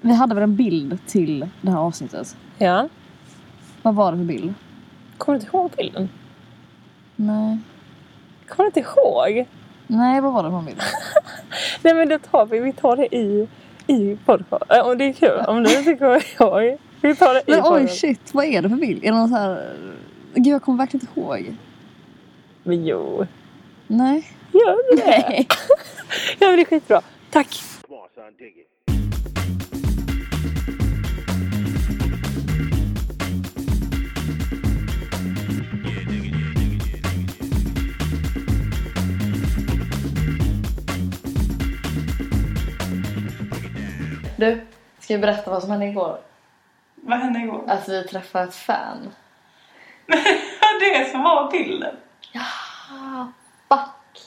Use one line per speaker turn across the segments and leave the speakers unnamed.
Vi hade väl en bild till det här avsnittet?
Ja.
Vad var det för bild?
Kommer du inte ihåg bilden?
Nej.
Kommer du inte ihåg?
Nej, vad var det för bild?
Nej men det tar vi. Vi tar det i, i podcast. Äh, Om det är kul. Om du inte kommer ihåg. Vi tar det i
Men oj
podcast.
shit, vad är det för bild? Är det någon så här... Gud, jag kommer verkligen inte ihåg.
Men jo.
Nej.
Gör det.
Nej.
Ja men det är skitbra. Tack.
Come on, son, dig it.
Du, ska jag berätta vad som hände igår?
Vad hände igår?
Att vi träffade ett fan.
det som var bilden.
Ah, fuck!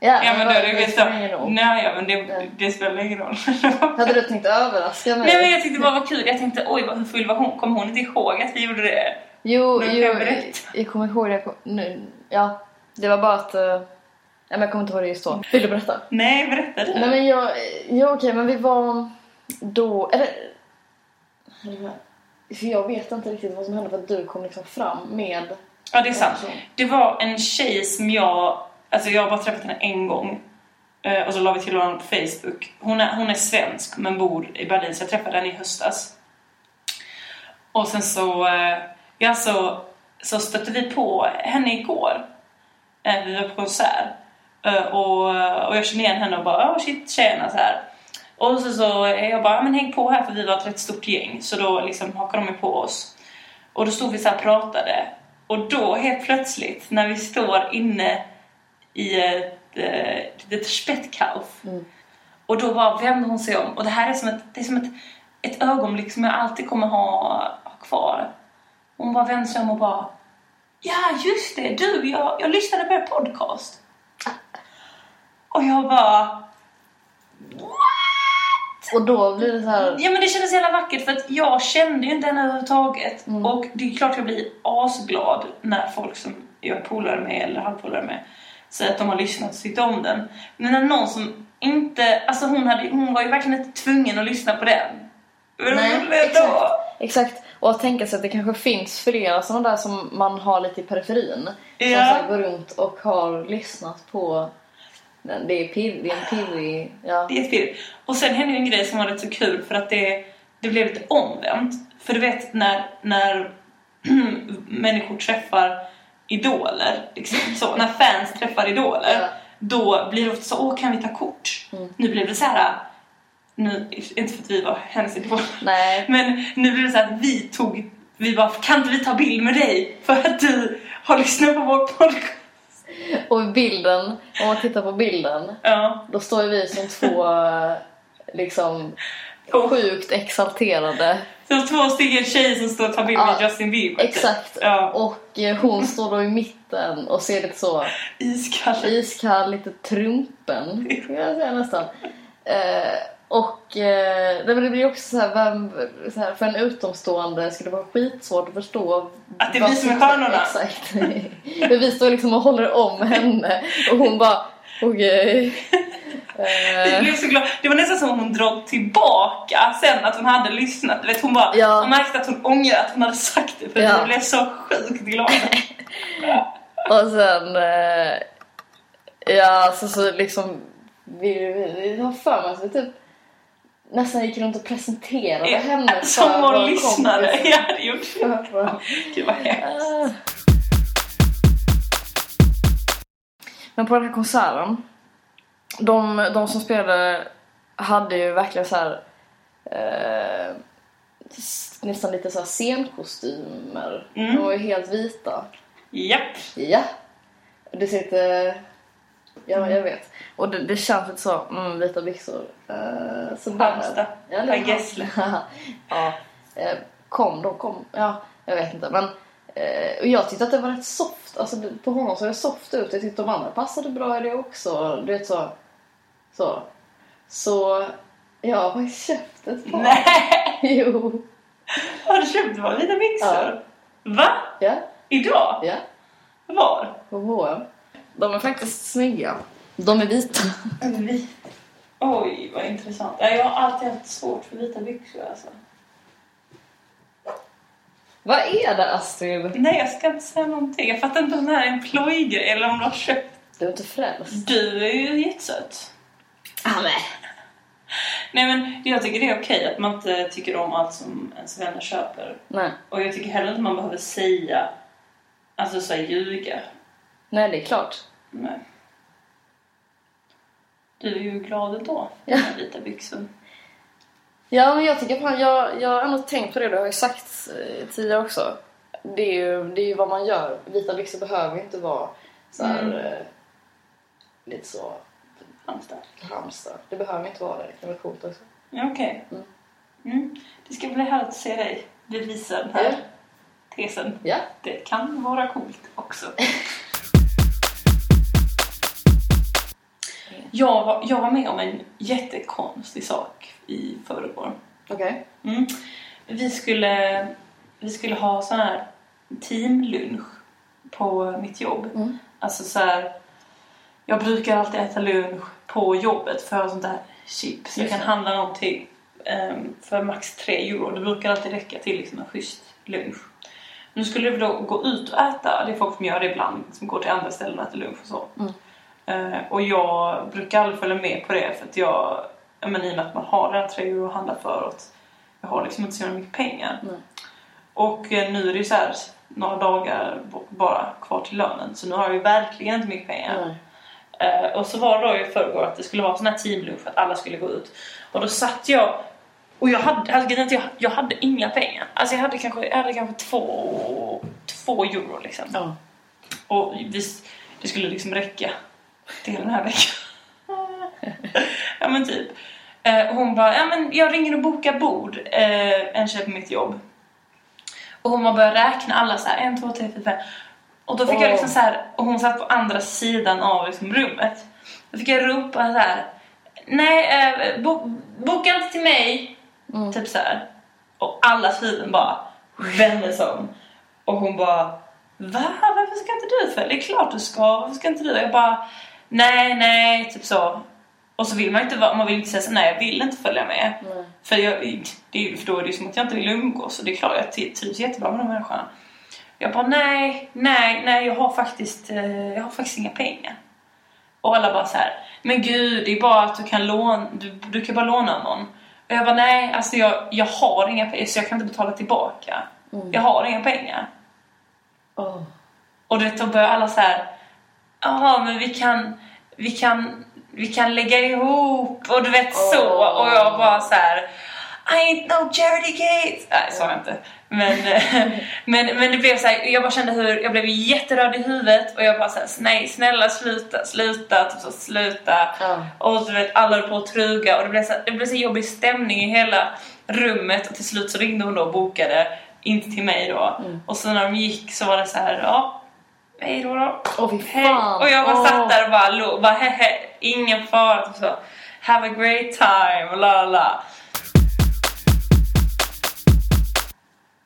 ja,
Ja men då, du vet så.
spelar ingen roll.
Nej ja men det,
Nej.
det spelar ingen roll.
Hade du tänkt överraska mig?
Nej men jag tyckte bara var kul. Jag tänkte oj vad hur full var hon? Kommer hon inte ihåg att vi gjorde det?
Jo,
Men
jo
kan jag
jag,
berätta?
kommer ihåg det. Jag kom, nu, ja, det var bara att... eh, ja, men jag kommer inte ihåg det just då. Vill du berätta?
Nej berätta
Nej
det.
men jag... Ja, okej, men vi var då... Eller... För jag vet inte riktigt vad som hände för att du kom liksom fram med...
Ja det är sant. Det var en tjej som jag, alltså jag har bara träffat henne en gång. Eh, Och så la vi till honom på Facebook. Hon är, hon är svensk men bor i Berlin så jag träffade henne i höstas. Och sen så, eh, ja så, så stötte vi på henne igår. Eh, Vi var på konsert. Eh, Och, och jag kände igen henne och bara oh shit tjena så här. Och så, så eh, jag bara "Ja, men häng på här för vi var ett rätt stort gäng. Så då liksom hakade de ju på oss. Och då stod vi så här och pratade. Och då helt plötsligt när vi står inne i ett eh, litet Spettkauf. Och då bara vänder hon sig om. Och det här är som ett, det är som ett, ett ögonblick som jag alltid kommer ha, ha kvar. Hon bara vänder sig om och bara Ja just det, du jag, jag lyssnade på er podcast. Och jag bara
Och då blir det så här...
Ja men det kändes så jävla vackert för att jag kände ju inte henne överhuvudtaget. Och det är klart jag blir asglad när folk som jag är polare med eller halvpolare med säger att de har lyssnat och tyckt om den. Men när någon som inte, alltså hon, hade, hon var ju verkligen inte tvungen att lyssna på den. Men hon blev
exakt,
då.
exakt. Och att tänka sig att det kanske finns flera sådana där som man har lite i periferin. Som
Ja.
så här går runt och har lyssnat på... Men Det är, pirr, det är en pirrig... Ja.
Det är ett pirr. Och sen hände ju en grej som var rätt så kul för att det, det blev lite omvänt. För du vet när, när människor träffar idoler, liksom så, när fans träffar idoler,
Ja. Mm.
då blir det ofta så åh kan vi ta kort? Nu blev det så här. Nu, inte för att vi var hennes idoler,
Nej.
men nu blev det så här att vi tog, vi bara kan inte vi ta bild med dig för att du har lyssnat på vår podcast?
Och bilden, om man tittar på bilden,
Ja.
då står ju vi som två eh, liksom
Och
sjukt exalterade.
så två stycken tjejer som står och tar bild med
Ja,
Justin Bieber. typ.
Exakt.
Ja.
Och eh, hon står då i mitten och ser lite så
Iskall.
iskall, lite trumpen, skulle jag säga nästan. Eh, och eh, nej, men det blir ju också så här, vem, så här, för en utomstående skulle det vara skitsvårt att förstå
Att det är
vad
vi som är
syftet-
stjärnorna.
Exakt. Men vi står liksom och håller om henne och hon bara okej.
Jag
Eh,
blev så glad. Det var nästan som hon drog tillbaka sen att hon hade lyssnat. Du vet, hon bara,
Ja.
man märkte att hon ångrade att hon hade sagt det för
Ja.
jag blev så sjukt glad.
Och sen... Eh, ja, alltså så liksom... Vi, vi, vi har för mig att vi typ nästan gick runt och presenterade henne för
Eh, Som
våra
hon lyssnade.
kompisar. Eh.
Jag hade gjort det. Gud vad hemskt.
Ah. Men på den här konserten, de, de som spelade hade ju verkligen så här, eh, s- nästan lite så här scenkostymer.
Mm.
De var ju helt vita.
Japp.
Ja. Det ser lite... Ja,
Mm.
jag vet. Och det, det känns lite så, mm, vita byxor. Uh, så där.
Halmstad.
Ja, eller
Per
Halm-
Gessle.
ja. eh, kom, de kom. Ja, jag vet inte. Men, eh, och jag tyckte att det var rätt soft. Alltså, det- på honom såg det soft ut. Jag tyckte de andra passade bra i det också. Du vet så. Så. Så jag har faktiskt köpt ett par.
Nej!
Jo.
Har du köpt var vita byxor? Va?
Ja,
Idag?
ja.
Var?
På H&M. De är faktiskt snygga. De är vita.
Vi. Oj, vad intressant. Ja, Jag har alltid haft svårt för vita byxor alltså.
Vad är det Astrid?
Nej, jag ska inte säga någonting. Jag fattar inte om det här är en plojgrej eller om du har köpt.
Du är inte frälst.
Du är ju jättesöt.
Ah, nej.
Nej men jag tycker det är okej att man inte tycker om allt som ens vänner köper.
nej.
Och jag tycker heller inte man behöver säga, alltså så här, ljuga.
Nej, det är klart.
Nej. Du är ju glad ändå,
Ja.
med vita byxor.
Ja, men jag tycker fan, jag, jag har ändå tänkt på det, du har ju sagt eh, tidigare också. Det är, ju, det är ju vad man gör. Vita byxor behöver ju inte vara så här,
Mm.
eh, lite så
Halmstad.
hamster. Det behöver inte vara det, det kan vara coolt också.
Ja, Okej.
Mm.
Mm. Det ska bli härligt att se dig bevisa den
Ja.
här tesen.
Ja.
Det kan vara coolt också. Jag var, jag var med om en jättekonstig sak i förrgår.
Okej.
Mm. Vi, skulle, vi skulle ha sån här teamlunch på mitt jobb.
Mm.
Alltså så här, jag brukar alltid äta lunch på jobbet för sånt där chips. Jag
Just
kan
det.
handla någonting ehm, för max 3 euro. Det brukar alltid räcka till liksom en schysst lunch. Nu skulle vi då gå ut och äta. Det är folk som gör det ibland, som går till andra ställen och äter lunch och så.
Mm.
Eh, och jag brukar aldrig följa med på det för att jag, ja, men i och med att man har den 3 euro att handla förut, jag har liksom inte så jävla mycket pengar.
Nej.
Och eh, nu är det ju så här några dagar b- bara kvar till lönen så nu har jag ju verkligen inte mycket pengar.
Nej.
Eh, och så var det då i förrgår att det skulle vara sån här teamlunch att alla skulle gå ut. Och då satt jag och jag hade, alltså, grejen är att jag, jag hade inga pengar. Alltså jag hade kanske, jag hade kanske två, två euro liksom.
Ja.
Och visst, det skulle liksom räcka till hela den här veckan. ja men typ. Eh, och hon bara, ja men jag ringer och bokar bord, eh, en tjej på mitt jobb. Och hon bara började räkna alla så här, en, två, tre, fyra, fem. Och då fick
Åh.
jag liksom så här, och hon satt på andra sidan av liksom rummet. Då fick jag ropa så här, nej, eh, bo, boka inte till mig.
Mm.
Typ så här. Och alla huvuden bara vände sig om. Och hon bara, va? Varför ska inte du följa? Det är klart du ska. Varför ska inte du? Jag bara, nej, nej, typ så. Och så vill man inte vara, man vill inte säga så, nej jag vill inte följa med.
Nej.
För, jag, det är, ju- för då är det ju som att jag inte vill umgås och det är klart jag tri- trivs jättebra med de människorna. Jag bara nej, nej, nej jag har faktiskt, eh, jag har faktiskt inga pengar. Och alla bara så här, men gud det är bara att du kan låna, du, du kan bara låna av någon. Och jag bara nej, alltså jag, jag har inga pengar så jag kan inte betala tillbaka.
Mm.
Jag har inga pengar.
Åh.
Och du vet, då börjar alla så här. Ja, men vi kan, vi kan, vi kan lägga ihop och du vet så.
Åh.
Och jag bara så här. I ain't no charity case. Nej, så jag inte. Men, men, men det blev så här, jag bara kände hur, jag blev jätteröd i huvudet och jag bara så här, nej snälla sluta, sluta, typ så, sluta.
Ja.
Och du vet, alla höll på att truga och det blev, så, det blev så jobbig stämning i hela rummet och till slut så ringde hon då och bokade, inte till mig då.
Mm.
Och sen när de gick så var det så här, ja, hej då då.
Åh, fy
Hej.
fan.
Och jag bara
Åh.
satt där och bara, lo, bara he, he, ingen fara. Typ så. Have a great time, och la la, la.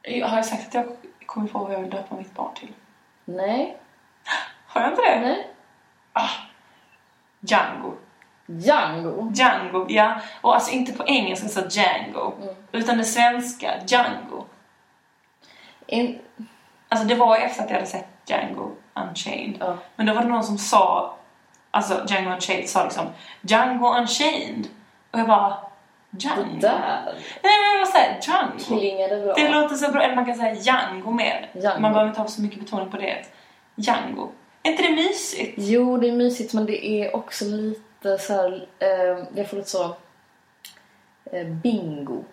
Jag Har jag sagt att jag kommer på vad jag vill döpa mitt barn till?
Nej.
Har jag inte det?
Nej.
Ah, Django.
Django.
Django, ja. Och alltså inte på engelska så Django. Utan det svenska, Django.
In...
Alltså det var ju efter att jag hade sett Django Unchained.
Ja.
Men då var det någon som sa, alltså Django Unchained sa liksom Django Unchained. Och jag bara, Django?
Det där
Nej men jag var såhär, Django.
klingade bra.
Det låter så bra. Eller man kan säga Django mer.
Django.
Man behöver inte ha så mycket betoning på det. Django. Är inte det mysigt?
Jo, det är mysigt men det är också lite så här, eh, jag får lite så eh, bingo.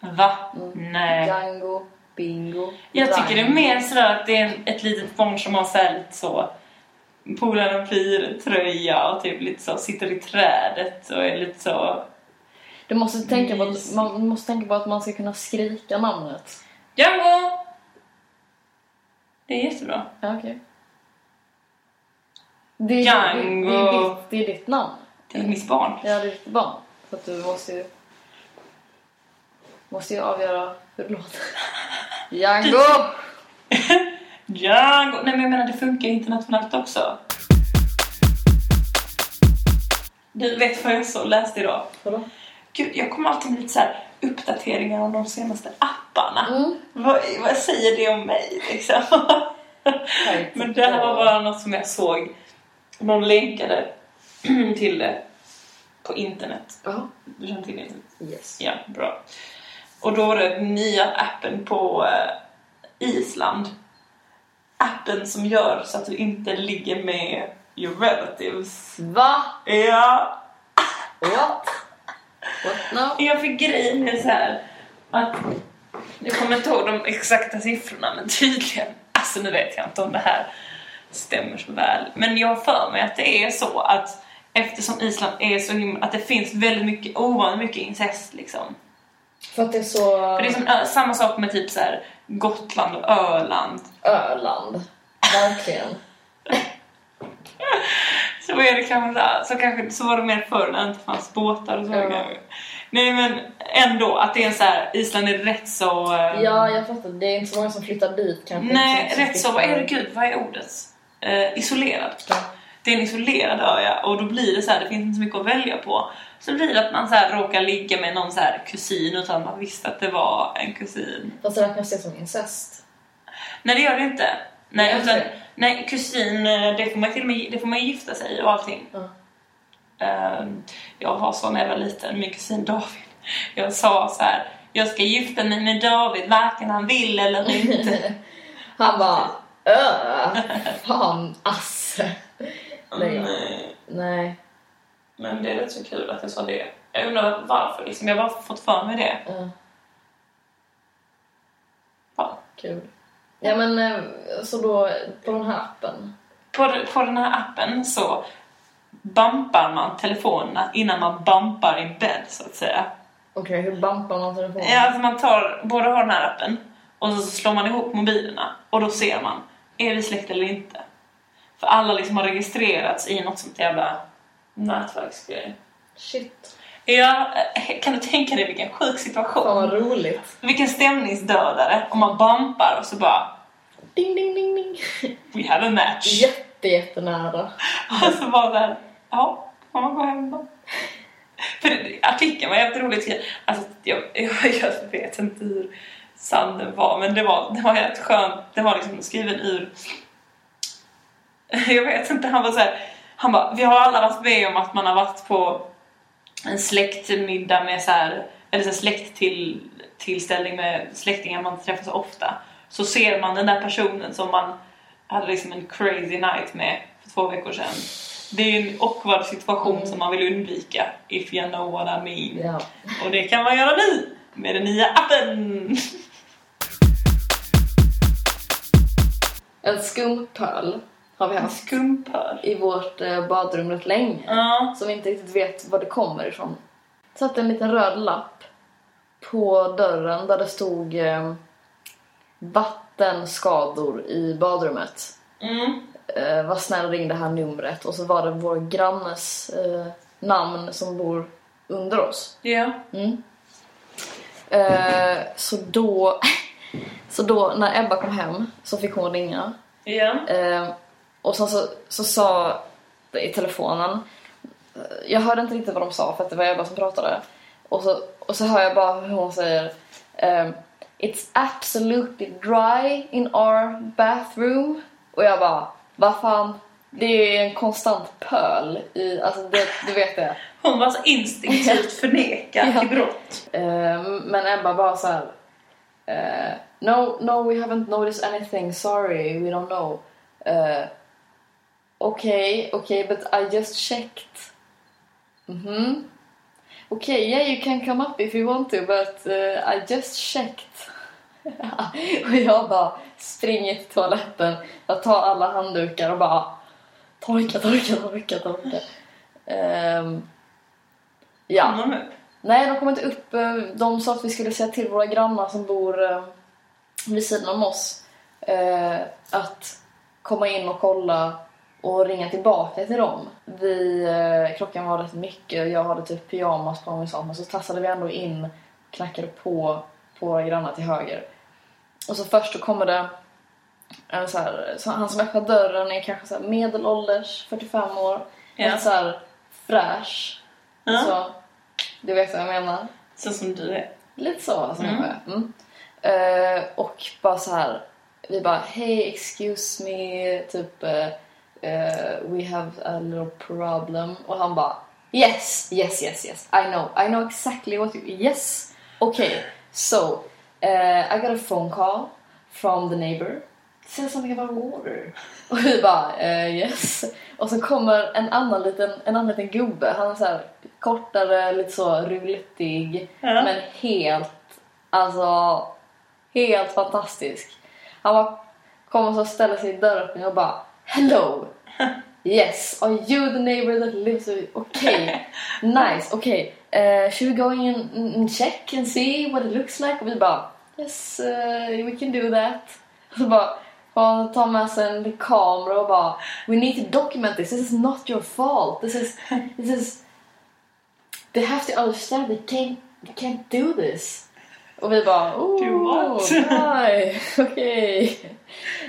Va? Nej.
Mm. Django, bingo.
Jag tycker det är
Django.
mer sådär att det är en- ett litet barn som har såhär lite så Polaren flyr, tröja och typ lite så sitter i trädet och är lite så
Du måste tänka på att,
Mysigt.
man måste tänka på att man ska kunna skrika namnet.
Django! Det är jättebra.
Ja, okej. Det, är,
Django.
Det, det, är ditt, det är ditt namn.
Det är mitt barn.
Ja, det är ditt barn. Så att du måste ju... Måste ju avgöra hur det låter. Django!
Django! Nej men jag menar det funkar internationellt också. Du vet vad jag så läste idag?
Vadå?
Gud, jag kommer alltid med lite så här uppdateringar om de senaste apparna.
Mm.
Vad, vad säger det om mig liksom? Men det här var bara något som jag såg. Någon länkade till det på internet.
Ja.
Du känner till internet?
Yes.
Ja, bra. Och då var det nya appen på eh, Island. Appen som gör så att du inte ligger med your relatives.
Va?
Ja,
What? What now?
Jag fick grejen är så här att jag kommer inte ihåg de exakta siffrorna men tydligen, alltså nu vet jag inte om det här stämmer så väl men jag har för mig att det är så att eftersom Island är så himla, att det finns väldigt mycket, ovanligt mycket incest liksom.
För att det är så...
För det är som, ö- samma sak med typ så här Gotland och Öland.
Öland. Verkligen.
Så är det kanske där. Så, kanske, så var det mer förr när det inte fanns båtar och så.
Ja.
kanske. Nej men ändå, att det är en så här, Island är rätt så... eh,
Ja, jag fattar. Det är inte så många som flyttar dit kanske.
Nej,
Inte
rätt så. Vad är det? Gud, vad är ordet? Eh, isolerad.
Ja.
Det är en isolerad ö ja, och då blir det så här, det finns inte så mycket att välja på. Så blir det att man så här råkar ligga med någon så här kusin utan man visste att det var en kusin.
Fast det räknas det som incest?
Nej, det gör det inte. Nej,
Nej,
utan,
okej.
nej kusin, eh, det får man till och med, det får man ju gifta sig och allting.
Ja.
Ehm, jag var så när jag var liten, min kusin David. Jag sa så här, jag ska gifta mig med David, varken han vill eller inte.
Han bara öh, fan ass. Nej.
Nej.
Nej.
Men det är rätt så kul att jag sa det. Jag undrar varför. Liksom, jag har bara fått för mig det.
ja,
Ja.
kul. Ja men eh, så då på den här appen.
På, på den här appen så bampar man telefonerna innan man bampar i bädd, så att säga.
Okej, hur bampar man telefonen?
Ja, alltså man tar, både har den här appen och så slår man ihop mobilerna och då ser man, är vi släkt eller inte? För alla liksom har registrerats i något sånt jävla nätverksgrej.
Shit.
Ja, eh, kan du tänka dig vilken sjuk
Fan
situation?
vad roligt.
Vilken stämningsdödare om man bampar och så bara
Ding ding ding ding.
We have a match.
Jätte jättenära.
Och så var det här, ja, får man gå hem då? För det- artikeln var jävligt rolig. till- Alltså, jag, jag, jag vet inte hur sann den var, men det var, det var jävligt skönt. Det var liksom skriven ur... Jag vet inte, han var så här, han bara, vi har alla varit med om att man har varit på en släktmiddag med så här, eller så här släkt till, tillställning med släktingar man inte träffar så ofta. Så ser man den där personen som man hade liksom en crazy night med för två veckor sedan. Det är ju en awkward situation som man vill undvika. If you know what I mean.
Ja.
Och det kan man göra nu med den nya appen!
En skumpöl har vi
En
haft
skumpör.
i vårt eh, badrum rätt länge.
Ja.
som inte riktigt vet var det kommer ifrån. Satt en liten röd lapp på dörren där det stod eh, vattenskador i badrummet.
Mm.
Eh, var snäll ring det här numret. Och så var det vår grannes eh, namn som bor under oss.
Ja.
Mm. Eh, så då... Så då när Ebba kom hem så fick hon ringa
Ja.
Eh, och sen så, så sa det i telefonen, eh, jag hörde inte riktigt vad de sa för att det var Ebba som pratade. Och så, och så hör jag bara hur hon säger ehm, It's absolutely dry in our bathroom. Och jag bara, vad fan? Det är ju en konstant pöl i, alltså det, du vet det.
Hon var så instinktivt förnekad
Ja.
till brott.
Eh, men Ebba bara så här. eh, no, no, we haven't noticed anything. Sorry, we don't know. Eh, okay, okay, but I just checked. Mhm. Okay, yeah, you can come up if you want to, but eh, I just checked. och jag bara springer till toaletten. Jag tar alla handdukar och bara torka, torka, torka, torka. Ehm, ja.
Kom nu.
Nej, de kom inte upp. Eh, De sa att vi skulle säga till våra grannar som bor eh, vid sidan om oss eh, att komma in och kolla och ringa tillbaka till dem. Vi, eh, klockan var rätt mycket, jag hade typ pyjamas på mig och sånt, men så tassade vi ändå in och knackade på på våra grannar till höger. Och så först då kommer det en så här, så han som öppnar dörren är kanske så här medelålders, 45 år.
Ja. Alltså,
En så här fräsch.
Ja.
Så, du vet vad jag menar.
Så som du är.
Lite så alltså,
Mm.
ungefär. Mm. Eh, och bara så här, vi bara hej excuse me, typ eh, eh, we have a little problem. Och han bara yes, yes, yes, yes, I know, I know exactly what you, yes, okay, so eh, I got a phone call from the neighbor. Say something about water. Och vi bara eh, yes. Och så kommer en annan liten, en annan liten gubbe. Han är så här kortare, lite så rulettig.
Ja.
Men helt, alltså helt fantastisk. Han bara kom och så ställde sig i dörröppningen och bara hello. Yes, are you the neighbor that lives with... Okej, nice, okej. Okay. Uh, should we go in and and check and see what it looks like? Och vi bara yes, eh, we can do that. Och så bara hon tar med sig en kamera och bara We need to document this, this is not your fault. This is... This is they have to understand they can't, they can't do this. Och vi bara
Do
oh,
what?"
nej, okej.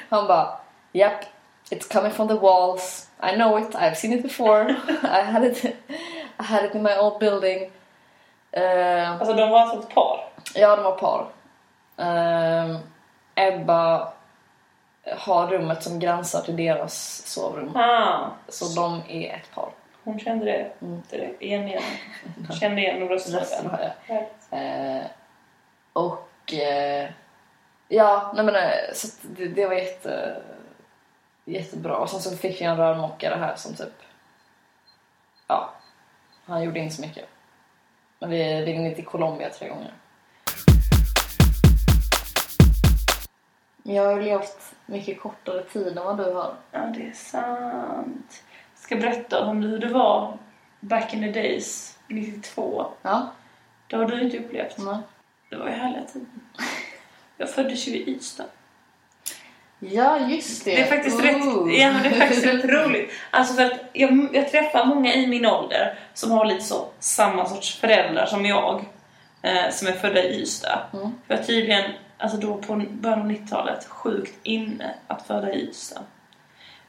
Han bara Yep, it's coming from the walls. I know it, I've seen it before. I had it, I had it in my old building. Eh,
Alltså de var alltså ett par.
Ja, de var par. Ehm, Ebba har rummet som gränsar till deras sovrum.
Ah,
Så de är ett par.
hon kände det
Mm.
direkt. Igen igen. Kände igen rösten.
Resten har jag.
Härligt.
Eh, och... eh, ja, nej men eh, så att det, det var jätte, jättebra. Och sen så fick jag en rörmokare här som typ... Ja, han gjorde inte så mycket. Men vi ringde till Colombia tre gånger. Men Jag har ju levt mycket kortare tid än vad du har.
Ja, det är sant. Jag ska berätta om hur det var back in the days, 92.
Ja,
Det har du inte upplevt.
nej.
Det var ju härliga tider. Jag föddes ju i Ystad.
Ja, just det.
Det är faktiskt rätt,
Ooh.
ja, men det är faktiskt rätt roligt. Alltså för att jag, jag träffar många i min ålder som har lite så samma sorts föräldrar som jag. Eh, som är födda i Ystad.
Mm.
För jag tydligen, alltså då på början av 90-talet, sjukt inne att föda i Ystad.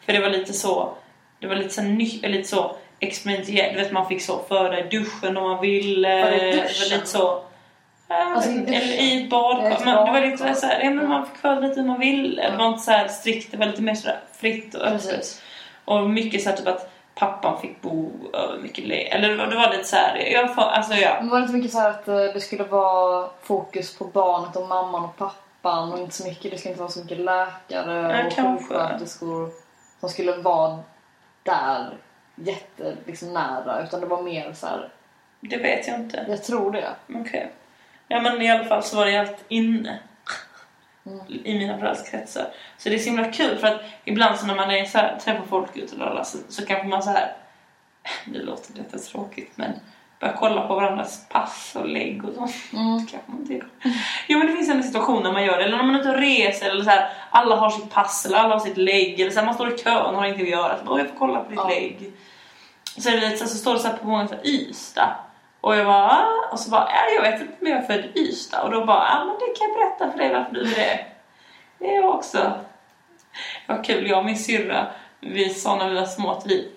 För det var lite så, det var lite så, ny, eller lite så experimentellt. Du vet man fick så föda i duschen om man ville.
Var det
var
duschen?
lite så. eh,
Alltså i
eller
duschen?
i ett badkar.
Ja, ett
Men det var
badkar.
lite så här, ja, men man fick föda lite hur man ville. Det var inte så här strikt, det var lite mer så där fritt och öppet.
Precis.
Och mycket så här typ att pappan fick bo över mycket le. Eller det var- det var lite så här, jag får, alltså ja.
Men var det inte mycket så här att eh, det skulle vara fokus på barnet och mamman och pappan och inte så mycket, det skulle inte vara så mycket läkare
Ja,
och
kanske.
sjuksköterskor som skulle vara där jätte, liksom nära utan det var mer så här.
Det vet jag inte.
jag tror det.
Okej. Ja men i alla fall så var det helt inne. I mina föräldrars kretsar. Så det är så himla kul för att ibland så när man är så här, träffar folk ute och alla så, så kanske man så här. Nu låter detta tråkigt men börjar kolla på varandras pass och lägg och sånt.
Mm.
Det kanske man inte gör. Jo men det finns en situation när man gör det. Eller när man är ute och reser eller så här. Alla har sitt pass eller alla har sitt lägg. Eller så här, man står i kön och har ingenting att göra. Så bara, "Åh, jag får kolla på ditt
Ja.
lägg. Så, är det lite, så, här, så står det så här på många så här, Ystad. Och jag bara, "Ah." och så bara, "Ja, jag vet inte men jag är född i Ystad. Och då bara, ja men det kan jag berätta för dig varför du är det. Det är jag också. Vad kul, jag och min syrra, vi sa när vi var små att vi,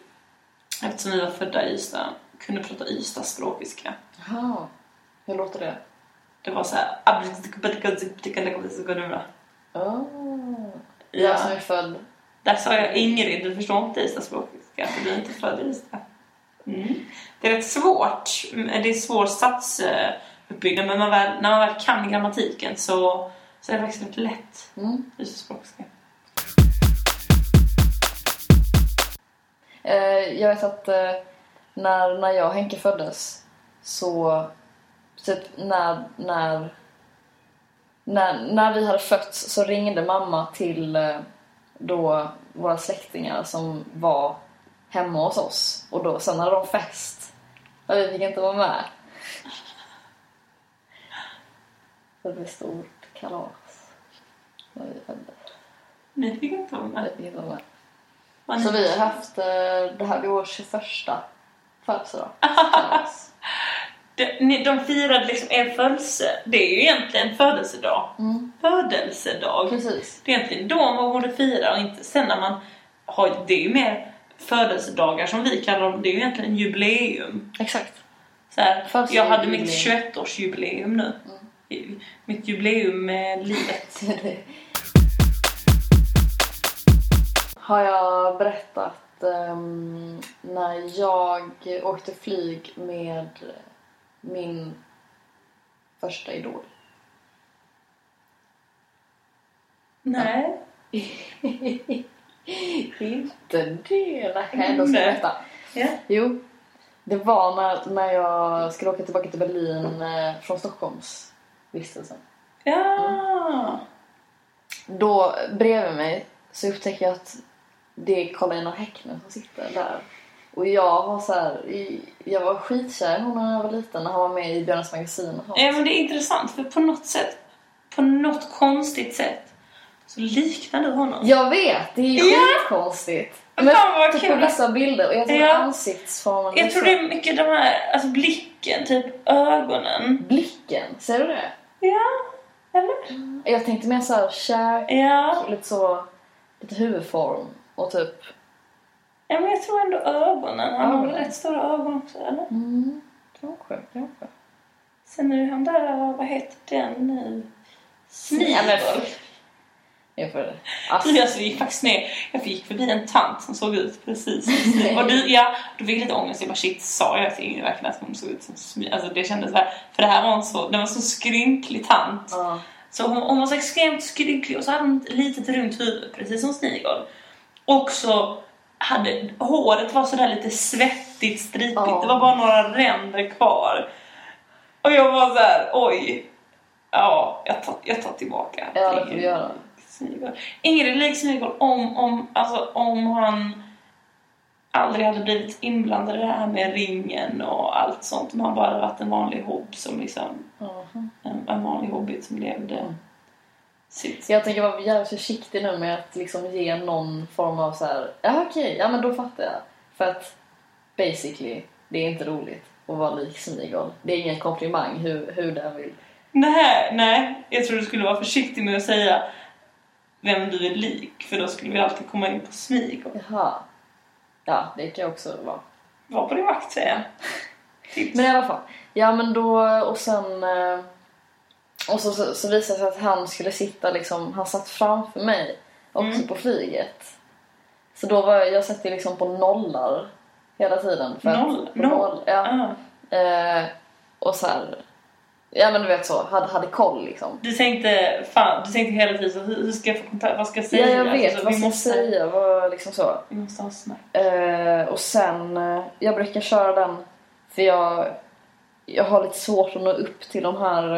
eftersom vi var födda i Ystad, kunde prata Ystadspråk. visst,
Jaha, hur låter det?
Det var så här...
Oh. Jag som
Ja,
är född.
där sa jag Ingrid, du förstår inte islandspråket. Du är inte född i Island. Mm. Det är rätt svårt. Mm, Det är svår satsuppbyggnad, men man väl, när man väl kan grammatiken så, så är det faktiskt rätt lätt
Mm.
islandspråkiska.
Eh, jag vet att eh, när, när jag och Henke föddes så... Typ när, när, när, när vi hade fötts så ringde mamma till eh, då våra släktingar som var hemma hos oss. Och då, sen hade de fest. Och vi fick inte vara med. Det blev stort kalas. när vi föddes.
Ni fick inte vara med.
Vi fick inte vara med.
Var
Så
ni-
vi har haft, eh, det här blir vår 21 födelsedag.
De, ni- de firade liksom er födelse. Det är ju egentligen födelsedag.
Mm.
Födelsedag.
Precis.
Det är egentligen då man borde fira och inte sen när man har... Det är ju mer födelsedagar som vi kallar dem, det är ju egentligen jubileum.
Exakt.
Så här,
Första
jag hade
jubileum.
mitt 21-årsjubileum nu. I- Mitt jubileum med livet.
Har jag berättat ehm, när jag åkte flyg med min första idol?
Nej.
Inte det! Nej, då ska jag
Nej.
berätta.
Ja.
Jo, det var när, när jag skulle åka tillbaka till Berlin eh, från Stockholmsvistelsen.
Ja.
Då bredvid mig så upptäcker jag att det är Carl Einar Häckner som sitter där. Och jag har så här, i- jag var skitkär i honom när jag var liten när han var med i Björnes magasin och sånt.
ja, men det är intressant för på något sätt, på något konstigt sätt, så liknar du honom.
Jag vet, det är ju
Ja.
skitkonstigt.
Fan, vad
typ på liksom.
kul.
vissa bilder och jag tror
Ja.
ansiktsformen
Jag tror det är mycket de här, alltså blicken, typ ögonen.
Blicken, ser du det?
Ja, eller?
Jag tänkte mer så här kär,
Ja,
lite så, lite huvudform och typ
ja men jag tror ändå ögonen. Han har väl
Ögonen.
rätt stora ögon också, eller?
Mm, kanske, kanske.
Sen är det han där, vad heter den nu?
Ja, men-
Snibel.
Jag får det. Ass-
Alltså, vi gick faktiskt ner. Jag fick förbi en tant som såg ut precis som Smil. Och du, ja, då fick jag lite ångest. Jag bara shit, sa jag till Ingrid verkligen att hon såg ut som Smil? Alltså det kändes såhär. För det här var en så, den var så skrynklig tant.
Ja.
Så hon, hon var så extremt skrynklig och så hade hon ett litet runt huvud, precis som Snigel. Och så hade, håret var sådär lite svettigt, stripigt.
Ja.
Det var bara några ränder kvar. Och jag var såhär, oj. Ja, jag tar, jag tar tillbaka.
Ja,
till
det får vi
Ingrid.
göra.
Smygol. Ingrid Lik Smygol om, om, alltså, om han aldrig hade blivit inblandad i det här med ringen och allt sånt. Om han bara hade varit en vanlig hobb som liksom,
Jaha.
en, en vanlig hobbit som levde sitt.
Så jag tänker vara jävligt försiktig nu med att liksom ge någon form av så här. ja okej, ja men då fattar jag. För att basically, det är inte roligt att vara lik Smigol. Det är ingen komplimang hur, hur den vill.
Nej, nej, jag tror du skulle vara försiktig med att säga vem du är lik för då skulle vi alltid komma in på Smygol.
Jaha. Ja, det kan jag också vara.
Var på din vakt säger jag. Tips.
Men i alla fall. Ja men då och sen... eh, Och så, så, så visade det sig att han skulle sitta liksom, han satt framför mig också
Mm.
på flyget. Så då var jag, jag satt ju liksom på nollar hela tiden. För
Noll?
Att, på
Noll?
ja.
Ah,
Eh, och så här, ja men du vet så, hade, hade koll liksom.
du tänkte, fan, du tänkte hela tiden så, hur, hur ska jag få kontakt, vad ska jag
Ja
säga?
jag vet,
Alltså, så
vad
vi
ska jag
måste-
säga? Vad, liksom så.
Vi måste ha snack.
Eh, och sen, eh, jag brukar köra den för jag, jag har lite svårt att nå upp till de här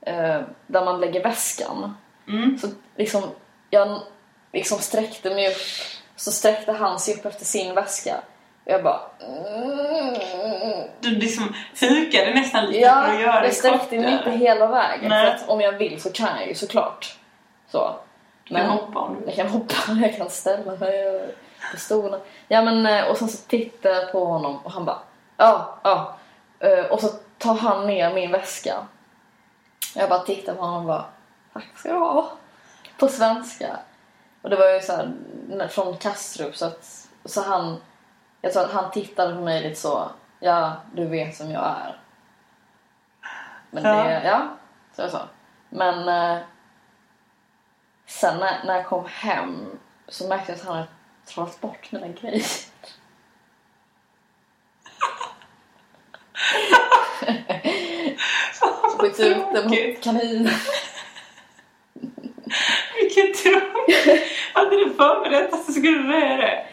eh, eh, där man lägger väskan.
Mm.
Så liksom, jag liksom sträckte mig upp, så sträckte han sig upp efter sin väska. Och jag bara... "Mm."
Du liksom hukade nästan lite för
Ja,
att göra det
jag sträckte mig inte
kortare.
hela vägen.
Nej.
För att om jag vill så kan jag ju såklart. Så.
Du kan hoppa om du
Jag kan hoppa, jag kan ställa mig på stolen. Ja, men, eh, och sen så tittar jag på honom och han bara ja, ja. Eh, Och så tar han ner min väska. Jag bara tittar på honom och bara tack ska du ha. På svenska. Och det var ju så här när- från Kastrup så att så han, jag tror att han tittade på mig lite så ja, du vet som jag är. Men det, ja, så jag sa. Men eh, Sen när, när jag kom hem så märkte jag att han hade trollat bort mina grejer. Bytt ut den mot
Tråkigt.
kaniner.
Vilket tråkigt. Hade du förberett att du skulle röra det?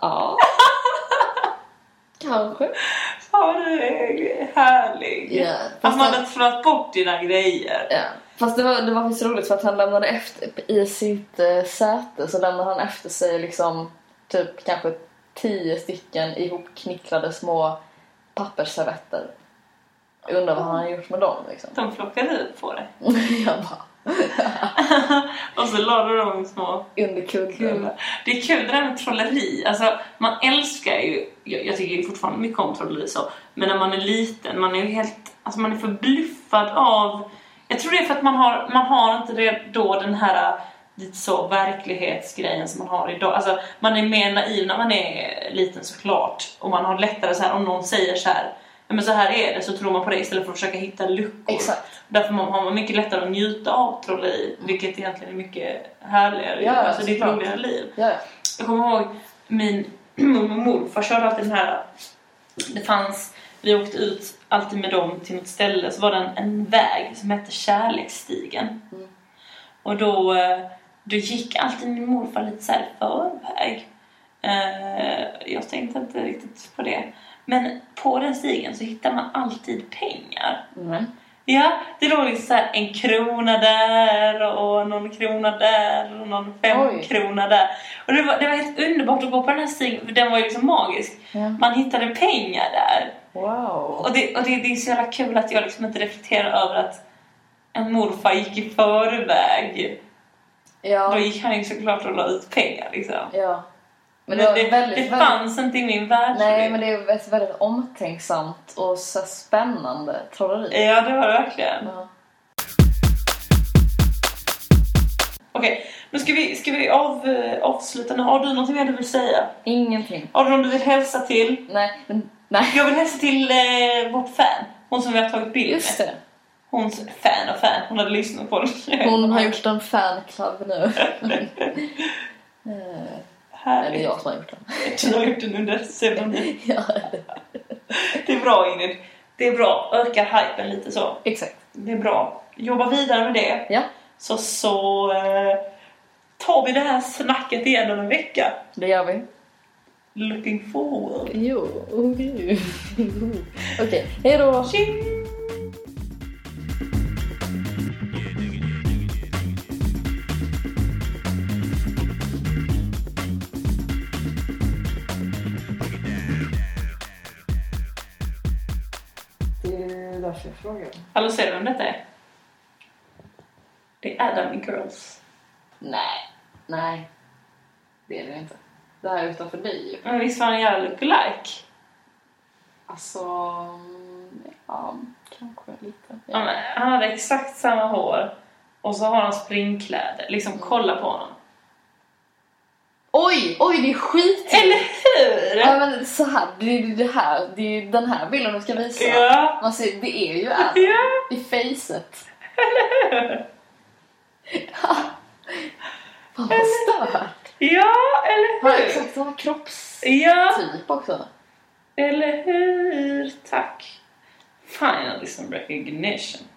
Ja. Kanske.
Fan, du är härlig.
Ja,
Att
fast
man
han-
har trollat bort dina grejer.
Ja. Fast det var, det var faktiskt roligt för att han lämnade efter, i sitt eh, säte så lämnade han efter sig liksom typ kanske tio stycken ihopknicklade små pappersservetter. Jag Undrar vad han har gjort med dem liksom.
De plockade ut på det.
Jag bara,
Och så la du dem i små
under kudden.
Kul. Det är kul det där med trolleri. Alltså, man älskar ju, jag, jag tycker ju fortfarande mycket om trolleri så, men när man är liten, man är ju helt, alltså man är förbluffad av, jag tror det är för att man har, man har inte det, då den här äh, lite så verklighetsgrejen som man har idag. Alltså, man är mer naiv när man är liten såklart. Och man har lättare så här om någon säger så här. "Ja, Men så här är det, så tror man på det istället för att försöka hitta luckor.
Exakt.
Därför man- har man mycket lättare att njuta av trolleri, vilket egentligen är mycket härligare.
Ja,
alltså, det är ett
såklart.
roligare liv.
Ja, ja.
Jag kommer ihåg min mormor och morfar körde alltid den här. Det fanns, vi åkte ut alltid med dem till något ställe så var det en, en väg som hette Kärleksstigen.
Mm.
Och då, eh, då gick alltid min morfar lite så här förväg. Eh, Jag tänkte inte riktigt på det. Men på den stigen så hittar man alltid pengar.
Mm.
Ja, det låg liksom så här en krona där och någon krona där och någon
Oj.
femkrona där. Och det var, det var helt underbart att gå på den här stigen för den var ju liksom magisk.
Ja.
Man hittade pengar där.
Wow.
Och det, och det, det är så jävla kul att jag liksom inte reflekterar över att en morfar gick i förväg. Då
Ja.
gick han ju såklart och la ut pengar liksom.
ja. Men
Men
det var
det,
väldigt,
det
väldigt...
fanns inte i min världsbild.
Nej, men det är ett väldigt omtänksamt och så spännande trolleri.
Ja, det var det verkligen.
Ja.
Okej, nu ska vi, ska vi av, eh, avsluta nu. Har du något mer du vill säga?
Ingenting.
Har du någon du vill hälsa till?
Nej, men nej.
Jag vill hälsa till eh, vårt fan. Hon som vi har tagit bild
Just
med.
det.
Hons fan och fan. Hon hade lyssnat på den.
Hon har gjort en fanclub nu. Eller
Härligt.
jag som har gjort den.
Du har gjort den under pseudonym.
Ja,
Det är bra Ingrid. Det är bra. Ökar hypen lite så.
exakt.
Det är bra. Jobba vidare med det.
Ja,
Så så eh, tar vi det här snacket igen om en vecka.
det gör vi.
Looking forward.
Jo, okej. Okej, hej då.
Tjing!
Det är därför jag frågar.
Hallå, Alltså, ser du vem detta är? Det är Adam and Girls.
Nej, nej. Det är det inte. Det här är utanför dig ju.
Men visst var han en jävla lookalike?
Alltså, ja, kanske lite.
Ja, men han hade exakt samma hår och så har han springkläder. Liksom
Mm.
kolla på honom.
Oj, oj, det är skit!
Eller hur?
Typ. Ja, men så här, det är ju det här, det är ju den här bilden du ska visa.
Ja.
Man ser, det är ju Adam
Ja.
i facet. Fan vad stört!
ja, eller
Han har
hur?
exakt samma kroppstyp
Ja,
också.
eller hur? Tack. Fan, jag har liksom recognition.